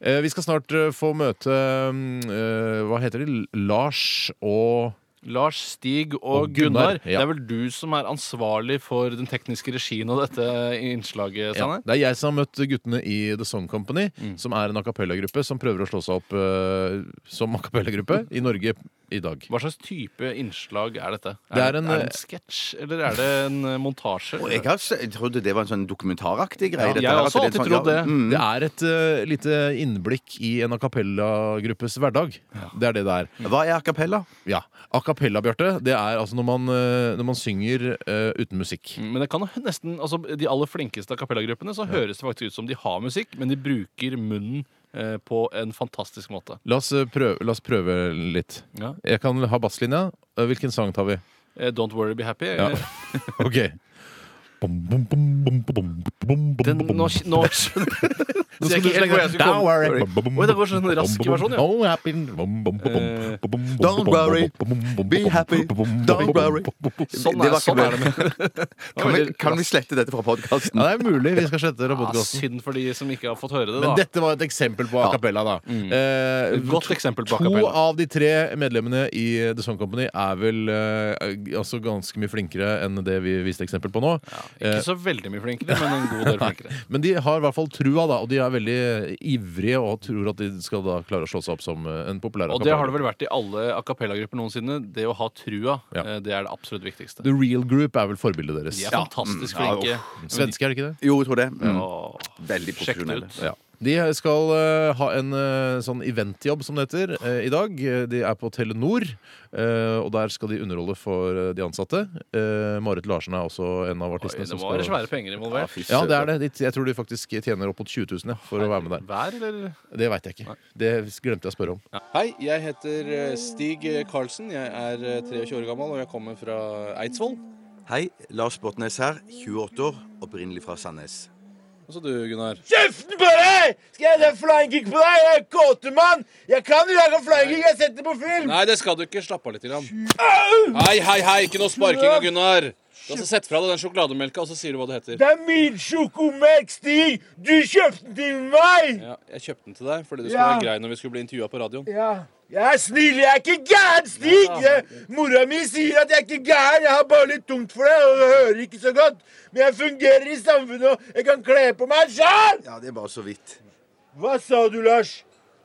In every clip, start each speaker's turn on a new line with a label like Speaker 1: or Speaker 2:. Speaker 1: Eh, Vi skal snart eh, få møte eh, Hva heter de? Lars og
Speaker 2: Lars, Stig og,
Speaker 1: Og Gunnar,
Speaker 2: Gunnar,
Speaker 1: ja.
Speaker 2: det er vel du som er ansvarlig for den tekniske regien og dette innslaget,
Speaker 1: ja,
Speaker 2: Sanne?
Speaker 1: Det er jeg som har møtt guttene i The Song Company, som er en a cappella-gruppe som prøver å slå seg opp eh, som a cappella-gruppe i Norge i dag.
Speaker 2: Hva slags type innslag er dette?
Speaker 1: Det er
Speaker 2: det-
Speaker 1: en-
Speaker 2: er det en sketsj, eller er det en eh, montasje?
Speaker 3: Og jeg, har, s- jeg trodde det var en sånn dokumentaraktig greie.
Speaker 2: Ja,
Speaker 3: dette
Speaker 2: jeg
Speaker 3: her,
Speaker 2: har
Speaker 3: at
Speaker 2: også
Speaker 3: det er
Speaker 2: alltid
Speaker 3: sånn-
Speaker 2: trodd det.
Speaker 3: ja, mm.
Speaker 1: Det er et eh, lite innblikk i en a cappella-gruppes hverdag. Det er det det er.
Speaker 3: Hva er a cappella?
Speaker 1: Ja. A cappella, Bjarte, det er altså når man, eh, når man synger eh, uten musikk.
Speaker 2: Men det kan jo nesten, altså De aller flinkeste av kapellagruppene så høres det faktisk ut som de har musikk, men de bruker munnen eh, på en fantastisk måte.
Speaker 1: La oss eh, prøve, la oss prøve litt.
Speaker 2: Ja.
Speaker 1: Jeg kan ha basslinja. Eh, Hvilken sang tar vi?
Speaker 2: Eh, Don't worry, be happy.
Speaker 1: Ja. OK.
Speaker 2: Den, nå, nå, nå
Speaker 1: Nå
Speaker 2: skal du slenge hvor jeg skulle komme. Oi, det går sånn rask versjon, ja.
Speaker 1: Oh, happy.
Speaker 2: Eh,
Speaker 3: don't worry. Be happy. Don't worry.
Speaker 2: Sånn
Speaker 3: Det
Speaker 2: er,
Speaker 3: var
Speaker 2: sånn er det
Speaker 3: ikke
Speaker 2: med
Speaker 3: Kan vi, kan vi slette dette fra podkasten?
Speaker 1: Ja, det er mulig vi skal slette
Speaker 2: ja,
Speaker 1: robotgassen.
Speaker 2: Synd for de som ikke har fått høre det,
Speaker 1: Men
Speaker 2: Ah, da.
Speaker 1: dette var et eksempel på a cappella, da. Eh,
Speaker 2: Et godt eksempel på a
Speaker 1: To
Speaker 2: cappella.
Speaker 1: av de tre medlemmene i The Song Company er vel eh, altså ganske mye flinkere enn det vi viste eksempel på nå. Eh,
Speaker 2: Ikke så veldig mye flinkere, men en god del flinkere.
Speaker 1: Men de har i hvert fall trua, da, og de er veldig ivrige og tror at de skal da klare å slå seg opp som eh, en populær
Speaker 2: Og det har det vel vært i alle a cappella-grupper noensinne. Det å ha trua,
Speaker 1: Ja.
Speaker 2: eh, det er det absolutt viktigste.
Speaker 1: The Real Group er vel forbildet deres.
Speaker 2: De er
Speaker 1: Ja.
Speaker 2: fantastisk
Speaker 3: Ja,
Speaker 2: flinke.
Speaker 1: Svenske, er det ikke det?
Speaker 3: Jo, jeg tror det. Mm.
Speaker 2: Åh,
Speaker 3: Veldig
Speaker 2: Sjekk det
Speaker 3: profesjonelle.
Speaker 2: ut.
Speaker 1: Ja. De skal eh, ha en eh, sånn eventjobb, som det heter, eh, i dag. Eh, De er på Telenor, eh, og der skal de underholde for eh, de ansatte. Eh, Marit Larsen er også en av
Speaker 2: Oi,
Speaker 1: artistene
Speaker 2: det
Speaker 1: som
Speaker 2: må være
Speaker 1: skal
Speaker 2: svære penger
Speaker 3: Ja,
Speaker 2: involvert.
Speaker 3: fy
Speaker 1: ja, det
Speaker 3: søren.
Speaker 1: er det. De- Jeg tror de faktisk tjener opp mot 20 000 ja, for å være med der.
Speaker 2: Hver, eller?
Speaker 1: Det veit jeg ikke. Det glemte jeg å spørre om.
Speaker 2: Hei, jeg heter eh, Stig Karlsen. Jeg er 23 år gammel, og jeg kommer fra Eidsvoll.
Speaker 3: Hei, Lars Botnes her, 28 år, opprinnelig fra Sandnes.
Speaker 2: Og så du, Gunnar.
Speaker 4: Kjeften på deg! Skal jeg ta flying kick på deg? Jeg er kåtemann! Jeg kan lage flying kick, jeg har sett det på film!
Speaker 2: Nei, det skal du ikke. Slapp av litt. Grann. Hei, hei, hei, ikke noe sparking av Gunnar. Du har Sett fra deg den sjokolademelka, og så sier du hva det heter.
Speaker 4: Det er min sjokomelk, Stig! Du kjøpte den til meg!
Speaker 2: Ja, jeg kjøpte den til deg fordi du skulle
Speaker 4: Ja.
Speaker 2: være grei når vi skulle bli intervjua på radioen.
Speaker 4: Ja. Jeg er snill, jeg er ikke gæren, Stig! Jeg, mora mi sier at jeg er ikke gæren, jeg har bare litt tungt for det, og jeg hører ikke så godt. Men jeg fungerer i samfunnet, og jeg kan kle på meg sjøl!
Speaker 3: Ja, det er bare så vidt.
Speaker 4: Hva sa du, Lars?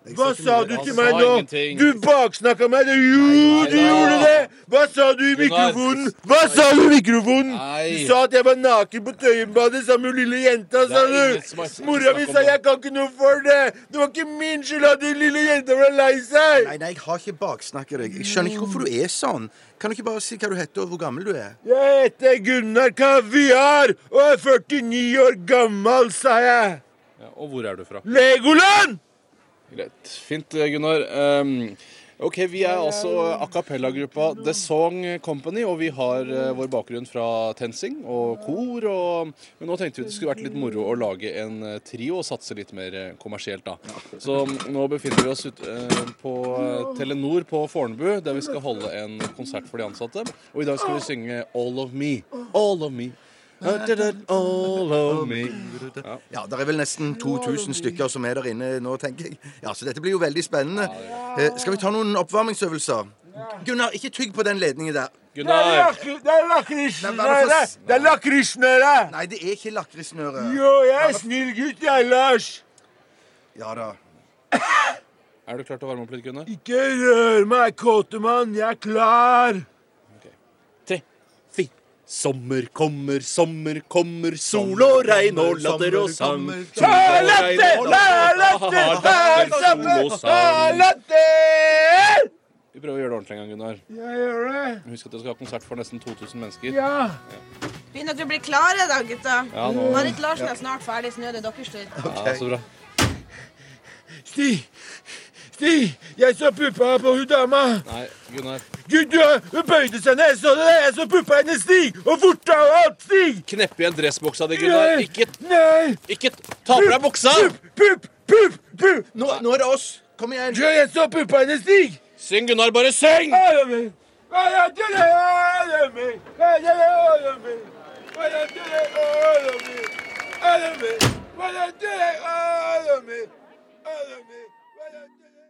Speaker 4: Hva sa du
Speaker 2: Han
Speaker 4: til
Speaker 2: sa
Speaker 4: meg nå?
Speaker 2: ingenting.
Speaker 4: Du baksnakka meg! Det- Jo, du
Speaker 2: nei.
Speaker 4: gjorde det! Hva sa du i
Speaker 2: Gunnar.
Speaker 4: mikrofonen? Hva sa du i mikrofonen?
Speaker 2: Nei.
Speaker 4: Du sa at jeg var naken på Tøyenbadet sammen med lille jenta, sa
Speaker 2: ingen som har-
Speaker 4: du! Mora mi sa jeg kan ikke noe for det! Det var ikke min skyld at den lille jenta ble lei seg!
Speaker 3: Nei, nei, jeg har ikke baksnakket deg. Jeg skjønner ikke hvorfor du er sånn. Kan du ikke bare si hva du heter og hvor gammel du er?
Speaker 4: Jeg heter Gunnar Kaviar og er 49 år gammel, sa jeg.
Speaker 2: Ja, og hvor er du
Speaker 4: Mm.
Speaker 2: fra?
Speaker 4: Legoland!
Speaker 2: Greit. Fint, Gunnar. Ehm, ok, Vi er altså a cappella-gruppa The Song Company, og vi har eh, vår bakgrunn fra TenSing og kor. Og, men nå tenkte vi det skulle vært litt moro å lage en eh, trio og satse litt mer eh, kommersielt. da. Så mm, nå befinner vi oss ut, eh, på eh, Telenor på Fornebu, der vi skal holde en konsert for de ansatte. Og i dag skal vi synge All of me, all of me. All of me.
Speaker 3: Ja, det er vel nesten 2000 stykker som er der inne nå, tenker jeg. Ja, Så dette blir jo veldig spennende. Eh, skal vi ta noen oppvarmingsøvelser? Gunnar, ikke tygg på den ledningen der.
Speaker 2: Gunnar!
Speaker 4: Det er lakrisnøre!
Speaker 3: Nei,
Speaker 4: Det er lakrisnøre!
Speaker 3: Nei, det er ikke lakrisnøre.
Speaker 4: Jo, jeg er snill gutt, jeg, Lars.
Speaker 3: Ja da.
Speaker 2: Er du klar til å varme opp litt, Gunnar?
Speaker 4: Ikke rør meg, kåte mann. Jeg er klar.
Speaker 2: tre, fire. Sommer kommer, sommer kommer, sol og regn og latter og sang. Sol og regn og latter, latter, sol og sang.
Speaker 4: Latter!
Speaker 2: Vi prøver å gjøre det ordentlig en gang, Gunnar.
Speaker 4: Jeg gjør det.
Speaker 2: Husk at dere skal ha konsert for nesten 2000 mennesker.
Speaker 4: Ja.
Speaker 5: Begynner dere å bli klare da, gutta?
Speaker 2: Ja, nå.
Speaker 5: Marit Larsen er snart ferdig, så nå er det deres tur.
Speaker 2: Ja, så bra.
Speaker 4: Stig. Stig, jeg så puppa på hun dama.
Speaker 2: Nei, Gunnar.
Speaker 4: Gud, du, hun bøyde seg ned. Jeg så det. Jeg så puppa hennes, Stig. Og forta og alt, Stig.
Speaker 2: Knepp igjen dressbuksa di, Gunnar. Ikke,
Speaker 4: Nei.
Speaker 2: ikke ta på deg buksa!
Speaker 4: Pupp, pupp, pupp, pupp.
Speaker 3: Nå, nå er det oss. Kom igjen.
Speaker 4: Du, jeg så puppa hennes, Stig.
Speaker 2: Syng, Gunnar. Bare syng!
Speaker 4: Follow me. Follow to the follow me. Follow me. Follow to the follow me. Follow me. Follow to the follow me. Alle mi-